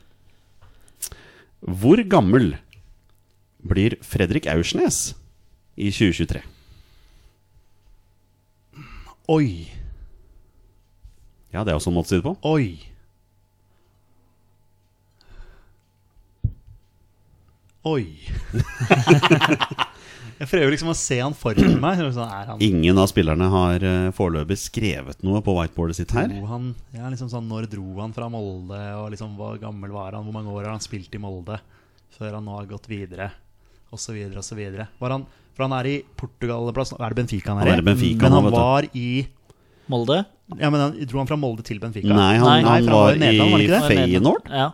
Hvor gammel blir Fredrik Aursnes i 2023? Oi, Ja, det er også en måte å si det på. oi. Oi. jeg prøver liksom å se han for meg. så Sånn, er han Ingen av spillerne har eh, foreløpig skrevet noe på whiteboardet sitt her. Dro han, ja, liksom sånn, når dro han fra Molde, og liksom, hvor gammel var han? Hvor mange år har han spilt i Molde før han nå har gått videre? Og så videre og så videre. Var han, for han er i Portugal plass, Er det Benfica han er, Han er i Benfica Men nå, han vet du. var i Molde? Ja, men han, Dro han fra Molde til Benfica? Nei, han, Nei, han for han var var i Nederland, var han i ikke Det var nede. Feyenoord. Ja,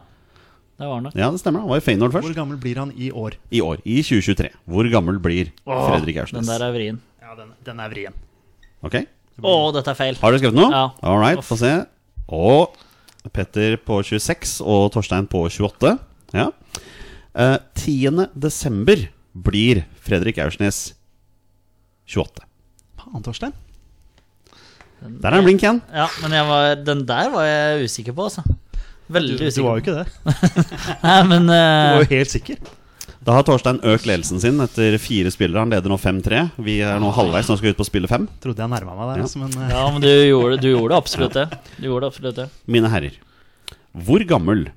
det var han nok. Ja, det stemmer. Han var i Feyenoord først. Hvor gammel blir han i år? I år. I 2023. Hvor gammel blir Fredrik Den Aursnes? der er vrien. Ja, den, er vrien. Ok, Å, dette er feil. Har du skrevet noe? Ja. All right, få se. Og Petter på 26 og Torstein på 28. Ja. Eh, 10. desember blir Fredrik Aursnes 28. Faen, Torstein. Der er en blink igjen. Ja, men jeg var, den der var jeg usikker på, altså. Du, Veldig du usikker. var jo ikke det. Du på. Nei, men eh, var jo helt sikker. Da har Torstein økt ledelsen sin etter fire spillere. Han leder nå 5-3. Vi er nå halvveis og skal ut på å spille fem. Trodde jeg nærma meg der, altså, men eh, Ja, men du gjorde, du gjorde absolutt det. Du gjorde absolutt det. Mine herrer, hvor gammel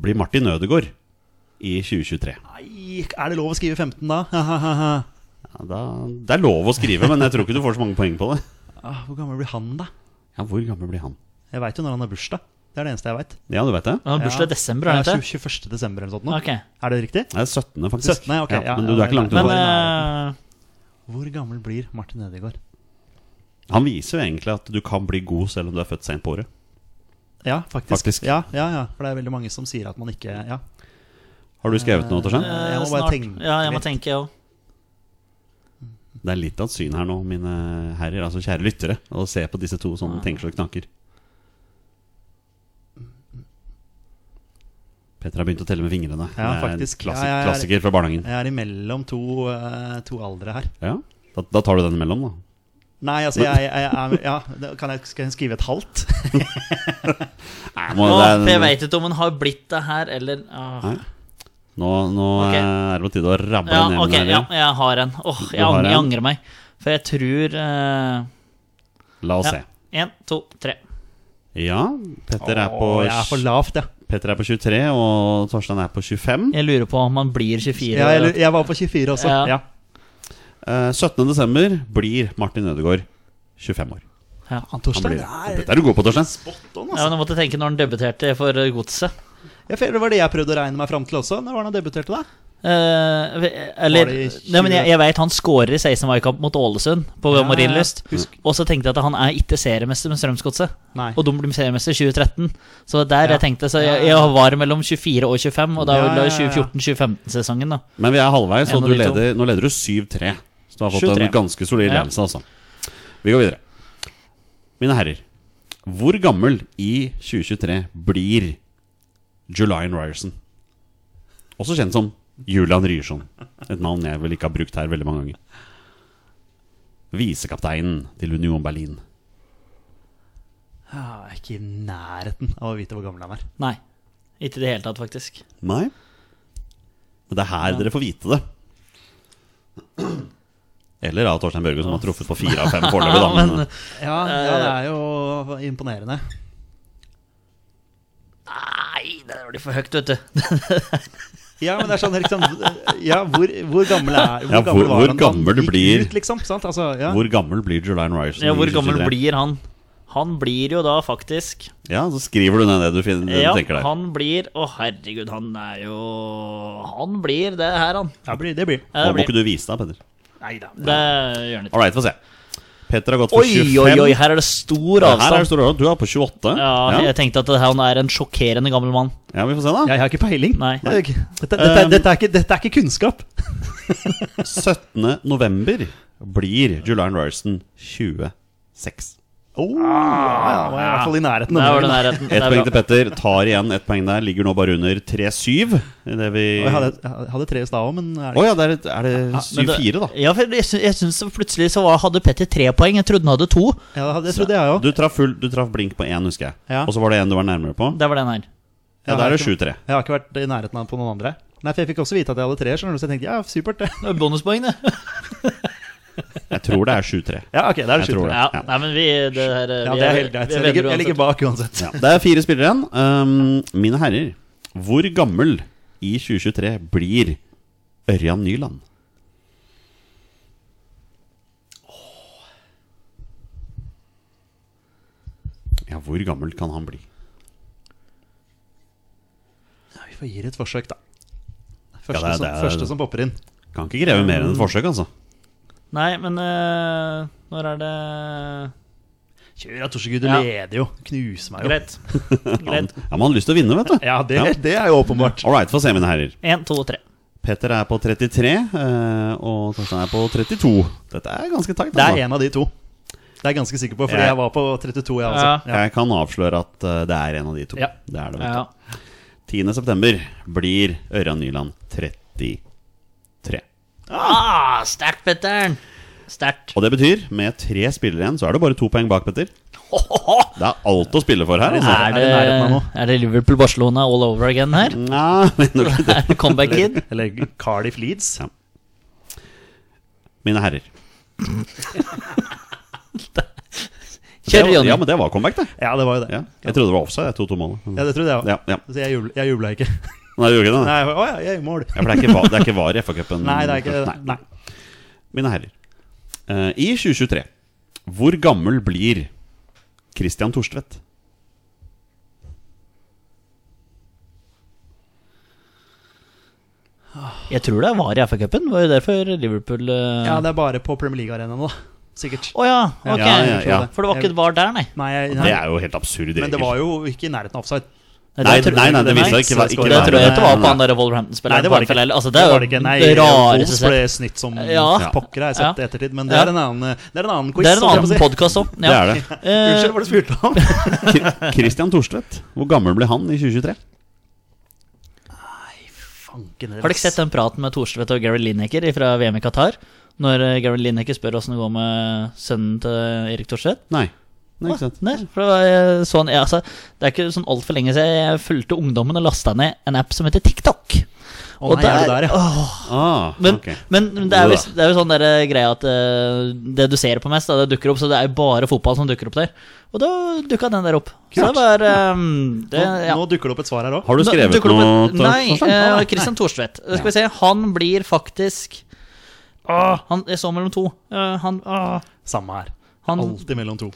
blir Martin Ødegaard i 2023? Nei, er det lov å skrive 15 da? Ah, Ja, da, det er lov å skrive, men jeg tror ikke du får så mange poeng på det. Ah, Hvor gammel blir han, da? Ja, Hvor gammel blir han? Jeg veit jo når han har bursdag. Det er det eneste jeg veit. Ja, du vet det? Han har bursdag i desember, er det ikke? 21. desember eller noe sånt. nå. Ok. Er det riktig? Det er 17., faktisk. 17., ok, ja, men du, du er ikke ja, langt Men unna. eh, Hvor gammel blir Martin Ødegaard? Han viser jo egentlig at du kan bli god selv om du er født sent på året. Ja, faktisk. Faktisk. Ja, ja, ja, for det er veldig mange som sier at man ikke Ja, Har du skrevet noe, Torstein? eh, Jeg må bare snart- tenke Ja, jeg må litt. tenke, jeg òg. Det er litt av et syn her nå, mine herrer, altså kjære lyttere, å se på disse to som tenker så det knaker. Petter har begynt å telle med fingrene. Ja, Det er en faktisk. Klassik, Ja, jeg er- Klassiker fra barnehagen. Jeg er imellom to, eh, to aldre her. Ja, da, da tar du den imellom, da. Nei, altså jeg, jeg, jeg er Ja, da kan jeg, skal jeg skrive et halvt? Nei, Å, må- for det jeg er- veit ikke om han har blitt det her, eller ah. Nei. Nå, nå Ok. er det på tide å rabbe Ja, den hjem. ok, Eivind. ja, jeg har en. Åh, jeg, har angrer, jeg en. angrer meg. For jeg tror eh, La oss Ja. se. En, to, tre. Ja, Petter er, på, Åh, jeg er for lavt, ja. Petter er på 23, og Torstein er på 25. Jeg lurer på om han blir 24. ja jeg, jeg var på 24 også. Ja. Ja. Eh, 17. desember blir Martin Ødegaard 25 år. Ja. Han Han Torstein blir, er dette er du god på, Torstein. spot on, Ja, men altså. jeg måtte tenke når han debuterte for Godset. Jeg føler det var det jeg prøvde å regne meg fram til også. Når var det han debuterte, da? Eh, eller Var det i Nei, men jeg, 20? jeg veit han scorer i 16 mai-kamp mot Ålesund på Ja, Marienlyst. husk. Og så tenkte jeg at han er ikke seriemester med Strømsgodset. Nei. Og de blir seriemester i 2013. Så det er der Ja. jeg tenkte Så jeg, Ja, ja, ja. jeg var mellom 24 og 25, og da Ja, var det ja, ja, ja. 2014-2015-sesongen, da. Men vi er halvveis, En og av du de to. leder, nå leder du 7-3. Så du har fått 7-3. en ganske solid Ja. ledelse, altså. Vi går videre. Mine herrer, hvor gammel i 2023 blir Julian Ryerson? Også kjent som Julian Ryerson. Et navn jeg vel ikke har brukt her veldig mange ganger. Visekapteinen til Union Berlin. Ja, jeg er ikke i nærheten av å vite hvor gammel han er. Nei. Ikke i det hele tatt, faktisk. Nei. Men det er her dere får vite det. Eller av Torstein Børge, som har truffet på fire av fem foreløpig. da, men- men, Ja, ja, det er jo imponerende. Nei, det blir for høyt, vet du. Ja, men det er sånn liksom, Ja, hvor, hvor gammel er Ja, hvor- hvor da gammel du gikk blir. Ut, liksom, sant? Altså, ja. Hvor gammel blir Julian Ryerson? Ja, hvor i 2023? gammel blir han? Han blir jo da faktisk Ja, så skriver du ned det du, finner, det Ja, du tenker der. han blir Å, herregud, han er jo Han blir det her, han. Ja, blir, det blir Ja, Nå det må ikke blir. du vise deg, Petter. Neida. Det gjør han ikke. All right, få se. Petter har gått for Oi, 25. oi, oi, her er det stor Ja, her er det avstand. stor overgang. Du er på 28. Ja, jeg tenkte at det her, han er en sjokkerende gammel mann. ja, vi får se, da. Jeg har ikke peiling. Nei. Det er ikke- Dette, dette, Um, er- dette, er ikke, dette er ikke kunnskap. 17. november blir Julian Ryerson 26. Oh, ja, var jeg i hvert fall i nærheten. Der av var det det. nærheten. Ah, Det Ett er poeng bra. til Petter. Tar igjen ett poeng der. Ligger nå bare under 3-7. i det vi Og Jeg hadde, jeg hadde tre i stad òg, men er Å det, ja, det er, er det Men det- 7-4, da? Ja, for jeg syns, jeg syns plutselig så var, hadde Petter tre poeng. Jeg trodde han hadde to. ja, det hadde- det trodde jeg òg. Du traff, full, du traff blink på én, husker jeg. Ja. Og så var det en du var nærmere på. Det var den her. Ja, Da er det 7-3. Jeg har ikke vært i nærheten av på noen andre. Nei, for Jeg fikk også vite at jeg hadde treer, skjønner du, så jeg tenkte ja, supert. det Det er Bonuspoeng, det. Jeg tror det er 7-3. Ja, ok, da er det Jeg tror sjukt. det. Ja, Ja. nei, men vi Det, her, Ja, vi det er helt greit. vi Jeg venner ligger, jeg ligger uansett. bak uansett. Ja, det er fire spillere igjen. Um, mine herrer, hvor gammel i 2023 blir Ørjan Nyland? Ja, hvor gammel kan han bli? Ja, vi får gi det et forsøk, da. det Første, er- som, det er- første som popper inn. Kan ikke kreve mer enn et forsøk, altså. Nei, men eh, når er det Kjør, Torsegud, du Ja. leder jo. Knuser meg jo. Greit. Han, Greit. ja, men han har lyst til å vinne, vet du. Ja, det, Ja. det er jo åpenbart. All right, få se, mine herrer. Én, to, tre. Petter er på 33, eh, og Torstein er på 32. Dette er ganske tight. Det altså. er en av de to. Det er jeg ganske sikker på, fordi Ja. jeg var på 32, jeg også. Ja. Jeg kan avsløre at eh, det er en av de to. Ja. Det er det, vet du. Ja. 10. september blir Ørjan Nyland 33. Ah, sterkt, Petteren. Sterkt. Og det betyr, med tre spillere igjen, så er det bare to poeng bak, Petter. Det er alt å spille for her. Altså. Er det det, nærheten av noe? er det Liverpool-Barcelona all over again her? Nei, men ok. Er det comeback kid? Eller Cardiff Leeds. Ja. Mine herrer. Kjør, Det var- Ja, Jonny. men det var comeback, det. Ja, det var jo det. Ja. Jeg trodde det var offside, jeg, 2-2-målet. Ja, det trodde jeg òg. Ja, ja. Så jeg jubla, jeg jubla ikke. Nei, det gjorde ikke det. Nei, Nei. jeg var, Å ja, jeg er i mål. Ja, for det er ikke var, det er ikke var i FA-cupen. Nei, det er ikke Nei. Nei. Mine herrer. Eh, I 2023, hvor gammel blir Christian Thorstvedt? Jeg tror det var i FA-cupen. Var jo derfor Liverpool eh, Ja, det er bare på Premier League-arenaen, da. Sikkert. Å ja, ok. Ja, ja, ja. For det var ikke et var der, nei. Nei, jeg, Det nei. er jo helt absurd regel. Men det var jo ikke i nærheten av offside. Nei, tror jeg nei, nei, ikke det var. viser seg ikke, Nei, ikke Det være- tror jeg ikke var på Nei. han der Wolverhampton-spilleren. Nei, det var det ikke. Eller, Altså, det er jo var det ikke. Nei, det rareste Wolves sett. ble snytt som Ja. pokker, har jeg sett i ettertid. Men det Ja. er en annen, det er en annen quiz. Det er en holdt jeg på annen å si. podkast òg. Det er det. Eh, Unnskyld, hva var det du spurte om? Kri- Christian Thorstvedt, hvor gammel ble han i 2023? Lineker. Har dere sett den praten med Thorstvedt og Gary Lineker fra VM i Qatar? Når eh, Gary Lineker spør åssen det går med sønnen til Erik Thorstvedt? Nei. Nei, ikke Åh, sant? Nei, for det, var, eh, sånn, ja, altså, det er ikke sånn altfor lenge siden jeg fulgte ungdommen og lasta ned en app som heter TikTok. Å, nei, er det der, ja? åh, Ah, men, ok. men det er jo, Jo da. det er jo sånn der, eh, greia at eh, det du ser på mest, da, det dukker opp. Så det er jo bare fotball som dukker opp der. Og da dukka den der opp. Så det var eh, det, Nå- ja. Nå dukker det opp et svar her òg. Har du Nå skrevet dukker det noe? opp en- Tor- Nei, Torstein? eh, Ah, Kristian Thorstvedt. Eh, Skal vi se, han blir faktisk Åh, han, Jeg så mellom to. Eh, han åh, Samme her. Han- Alltid mellom to.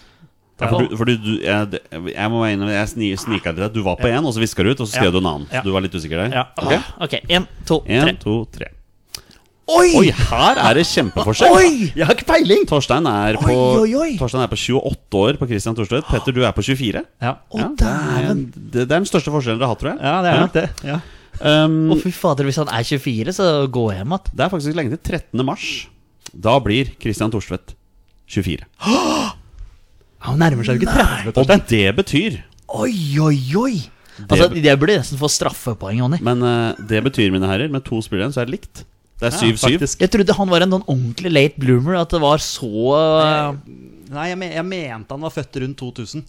Ja, for du, for du, du jeg, det- jeg må være innom, jeg sni- snika til deg. Du var på én, og så viska du ut, og så skrev Ja. du en annen. Ja. Så du var litt usikker der. Ja. Ok. Ok, én, to, tre. En, to, tre. Oi! Oi, her er det kjempeforskjell! Oi! Jeg har ikke peiling! Torstein er på, oi, oi. Torstein er på 28 år på Christian Thorstvedt. Petter, du er på 24. Ja. Å, Ja, det, er, dæven! det, det er den største forskjellen dere har hatt, tror jeg. ja, det er nok det. Ja. Um, Å, fy fader, hvis han er 24, så går jeg hjem igjen. det er faktisk lenge til 13. mars. Da blir Christian Thorstvedt 24. Han nærmer seg jo ikke 30, Og det betyr Oi, oi, oi! Altså, Jeg burde nesten få straffepoeng, Jonny. Men eh, det betyr, mine herrer, med to spillere så er det likt. Det er 7-7. Jeg trodde han var en sånn ordentlig late bloomer, at det var så eh, Nei, jeg, men, jeg mente han var født rundt 2000.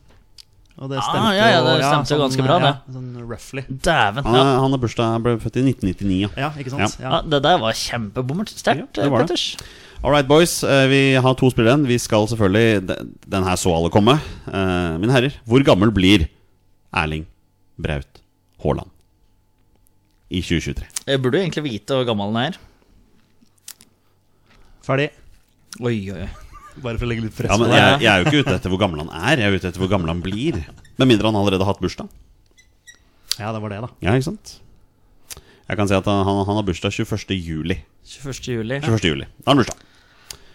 Og det Ah, stemte ja, ja, det stemte jo ganske bra, ja, det. Sånn roughly. Dæven. han, Ja. er- han er bursdag, ble født i 1999, ja. Ja, ikke sant? Ja, Ja. det der var kjempebommert sterkt, Ja, det var det. Petters. All right, boys. eh, Vi har to spillere igjen. Vi skal selvfølgelig Den den her så alle komme. Eh, Mine herrer, hvor gammel blir Erling Braut Haaland i 2023? Jeg burde jo egentlig vite hvor gammel han er. Ferdig. Oi, oi, oi. Bare for å legge litt press Ja, men på jeg, jeg er jo ikke ute etter hvor gammel han er, jeg er ute etter hvor gammel han blir. Med mindre han allerede har hatt bursdag. deg. Ja, det var det, da. Ja, ikke sant? Jeg kan si at han, han har bursdag 21. juli. 21. juli. 21. juli. Da har han bursdag.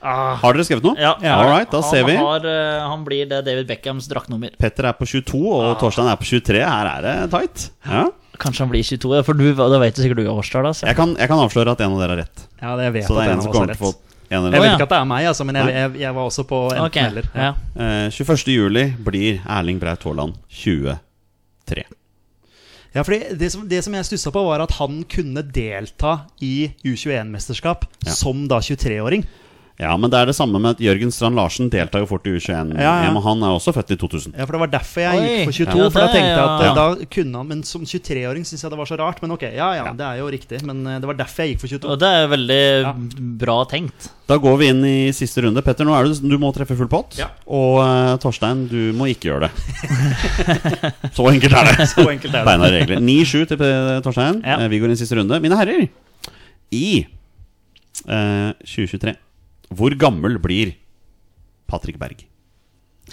Har dere skrevet noe? Ah. Ja, All right, da han, ser vi. Har, eh, han blir det David Beckhams draktnummer. Petter er på 22, og Torstein er på 23. Her er det tight. Ja. Kanskje han blir 22, ja, for du, da vet du sikkert du altså. har årsdag. da så. Jeg, kan, jeg kan avsløre at en av dere har rett. Ja, det jeg vet Så det at er en en av som oss har kommer til rett. å få en Jeg eller Å, vet ja. ikke at det er meg, altså, men jeg, Nei. jeg, jeg var også på enten Ok, eller. ja. annen. Eh, 21. juli blir Erling Braut Haaland 23. Ja, fordi det som, det som jeg stussa på, var at han kunne delta i U21-mesterskap Ja. som da 23-åring. Ja, men det er det samme med at Jørgen Strand Larsen deltar jo fort i U21. Ja, ja. EM, og Han er også født i 2000. Ja, for Det var derfor jeg Oi. gikk for 22. Ja, for Da det er tenkte jeg at jo- eh, da kunne han Men som 23-åring syns jeg det var så rart. Men ok, ja, ja, det er jo riktig. Men eh, det var derfor jeg gikk for 22. Og det er veldig Ja. bra tenkt. Da går vi inn i siste runde. Petter, nå er du, du må treffe full pott. Ja. Og eh, Torstein, du må ikke gjøre det. Så enkelt er det. Så enkelt er det. Beina regler. 9-7 til eh, Torstein. Ja. Eh, Vi går inn i siste runde. Mine herrer, i eh, 2023, hvor gammel blir Patrick Berg?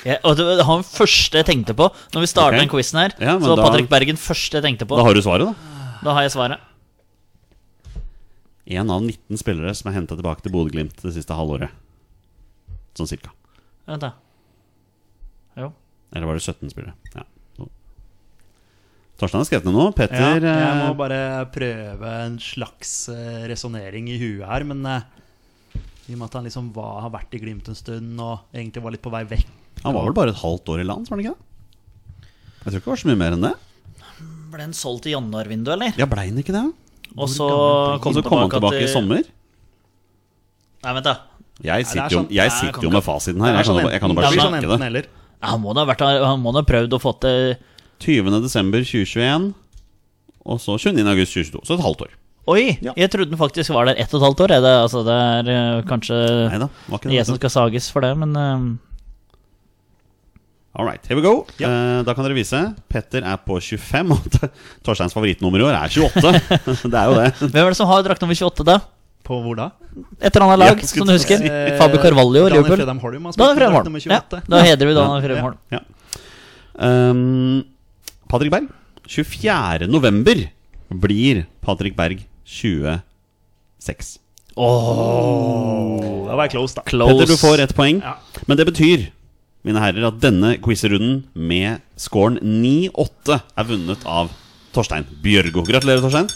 Ja, og det var han første jeg tenkte på Når vi Ok. startet den quizen her. Ja, men så var da- Patrick Bergen første jeg tenkte på. Da har du svaret, da. Da har jeg svaret. En av 19 spillere som er henta tilbake til Bodø-Glimt det siste halvåret. Sånn cirka. Vent, da. Jo. Eller var det 17 spillere? Ja. Torstein har skrevet ned noe. Ja, Petter jeg eh, må bare prøve en slags uh, resonnering i huet her, men eh, i og med at han liksom var, har vært i Glimt en stund og egentlig var litt på vei vekk Han var vel bare et halvt år i land, var han ikke det? Jeg tror ikke det var så mye mer enn det. Ble den solgt i januarvinduet, eller? Ja, blei han ikke det? Og så Og kom så den kom han tilbake, tilbake i til- sommer. Nei, vent, da. Jeg det er sitter jo, sånn- jeg Nei, jeg sitter kan jo ikke- med fasiten her. Det er Jeg kan, sånn jo bare- jeg kan jo enten- bare det er sånn sjekke det. enten eller. Han må da ha vært Han må da ha prøvd å få til 20. desember 2021, og så 29. august 2022. Så et halvt år. Oi! Ja. Jeg trodde den faktisk var der ett og et halvt år. jeg. Det, altså, det er eh, kanskje Nei da, var ikke jeg som det. skal sages for det, men eh, All right, here we go. Eh, da kan dere vise. Petter er på 25, og Torsteins favorittnummer i år er 28. det er jo det. Hvem er det som har drakt nummer 28, da? På hvor da? Et eller annet Ja, lag, jeg skulle som du husker. til Eh, Fabio Carvalho, Daniel Liverpool. Fredheim Holm har Daniel spilt drakt Fredholm. nummer Ja, 28. da hedrer vi Daniel Ja. Fredholm. Ja. Um, Patrick Berg. 24. november blir Patrick Berg 26. Da var jeg close, da. Close. Petter, du får ett poeng. Ja. Men det betyr mine herrer, at denne quiz-runden med scoren 9-8 er vunnet av Torstein Bjørgo. Gratulerer, Torstein.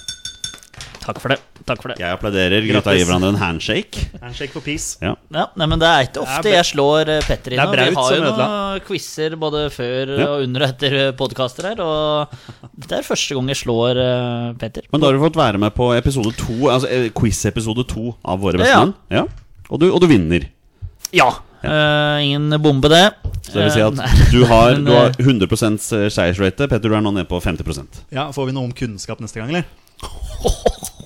Takk for det. Takk for det. Jeg applauderer. Gutta gir Grattis. hverandre en handshake. Handshake for peace. Ja. Ja, nei, men Det er ikke ofte Det er bra- jeg slår eh, Petter i Det er nå. Vi Braut har som jo noen ødela. quizer både før Ja. og under og etter podkaster her, og det er første gang jeg slår eh, Petter. Men da har du fått være med på episode to, altså eh, quiz-episode to av Våre Ja. bestemenn. Ja. Og, du, og du vinner. Ja! Eh, ingen bombe, det. Så det vil si Eh, nei. at du har, Men, du har eh, 100 seiersrate. Petter, du er nå nede på 50 Ja, Får vi noe om kunnskap neste gang, eller?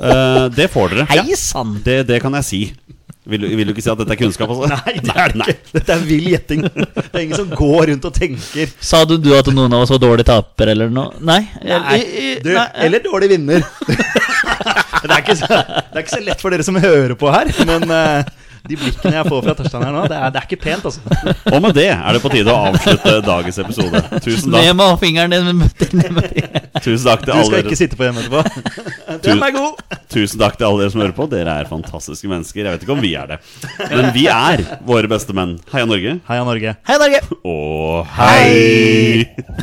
Eh, Det får dere. Hei sann! Det, det kan jeg si. Vil, du- vil du ikke si at dette er kunnskap, altså? Nei, det er det ikke. Dette er vill gjetting. Det er ingen som går rundt og tenker. Sa du, du at noen av oss var dårlige tapere eller noe? Nei? I- i- Du, nei, eh, eller dårlig vinner. det, er ikke så, det er ikke så lett for dere som hører på her, men eh, de blikkene jeg får fra Torstein her nå, det er, det er ikke pent, altså. Og med det er det på tide å avslutte dagens episode. Tusen Ned takk, med fingeren din. tusen takk til Du skal alle ikke dere sitte på hjemme etterpå. Den er god! Tusen takk til alle dere som hører på. Dere er fantastiske mennesker. Jeg vet ikke om vi er det, men vi er våre beste menn. Heia Norge, Heia Norge. Hei, Norge! og hei!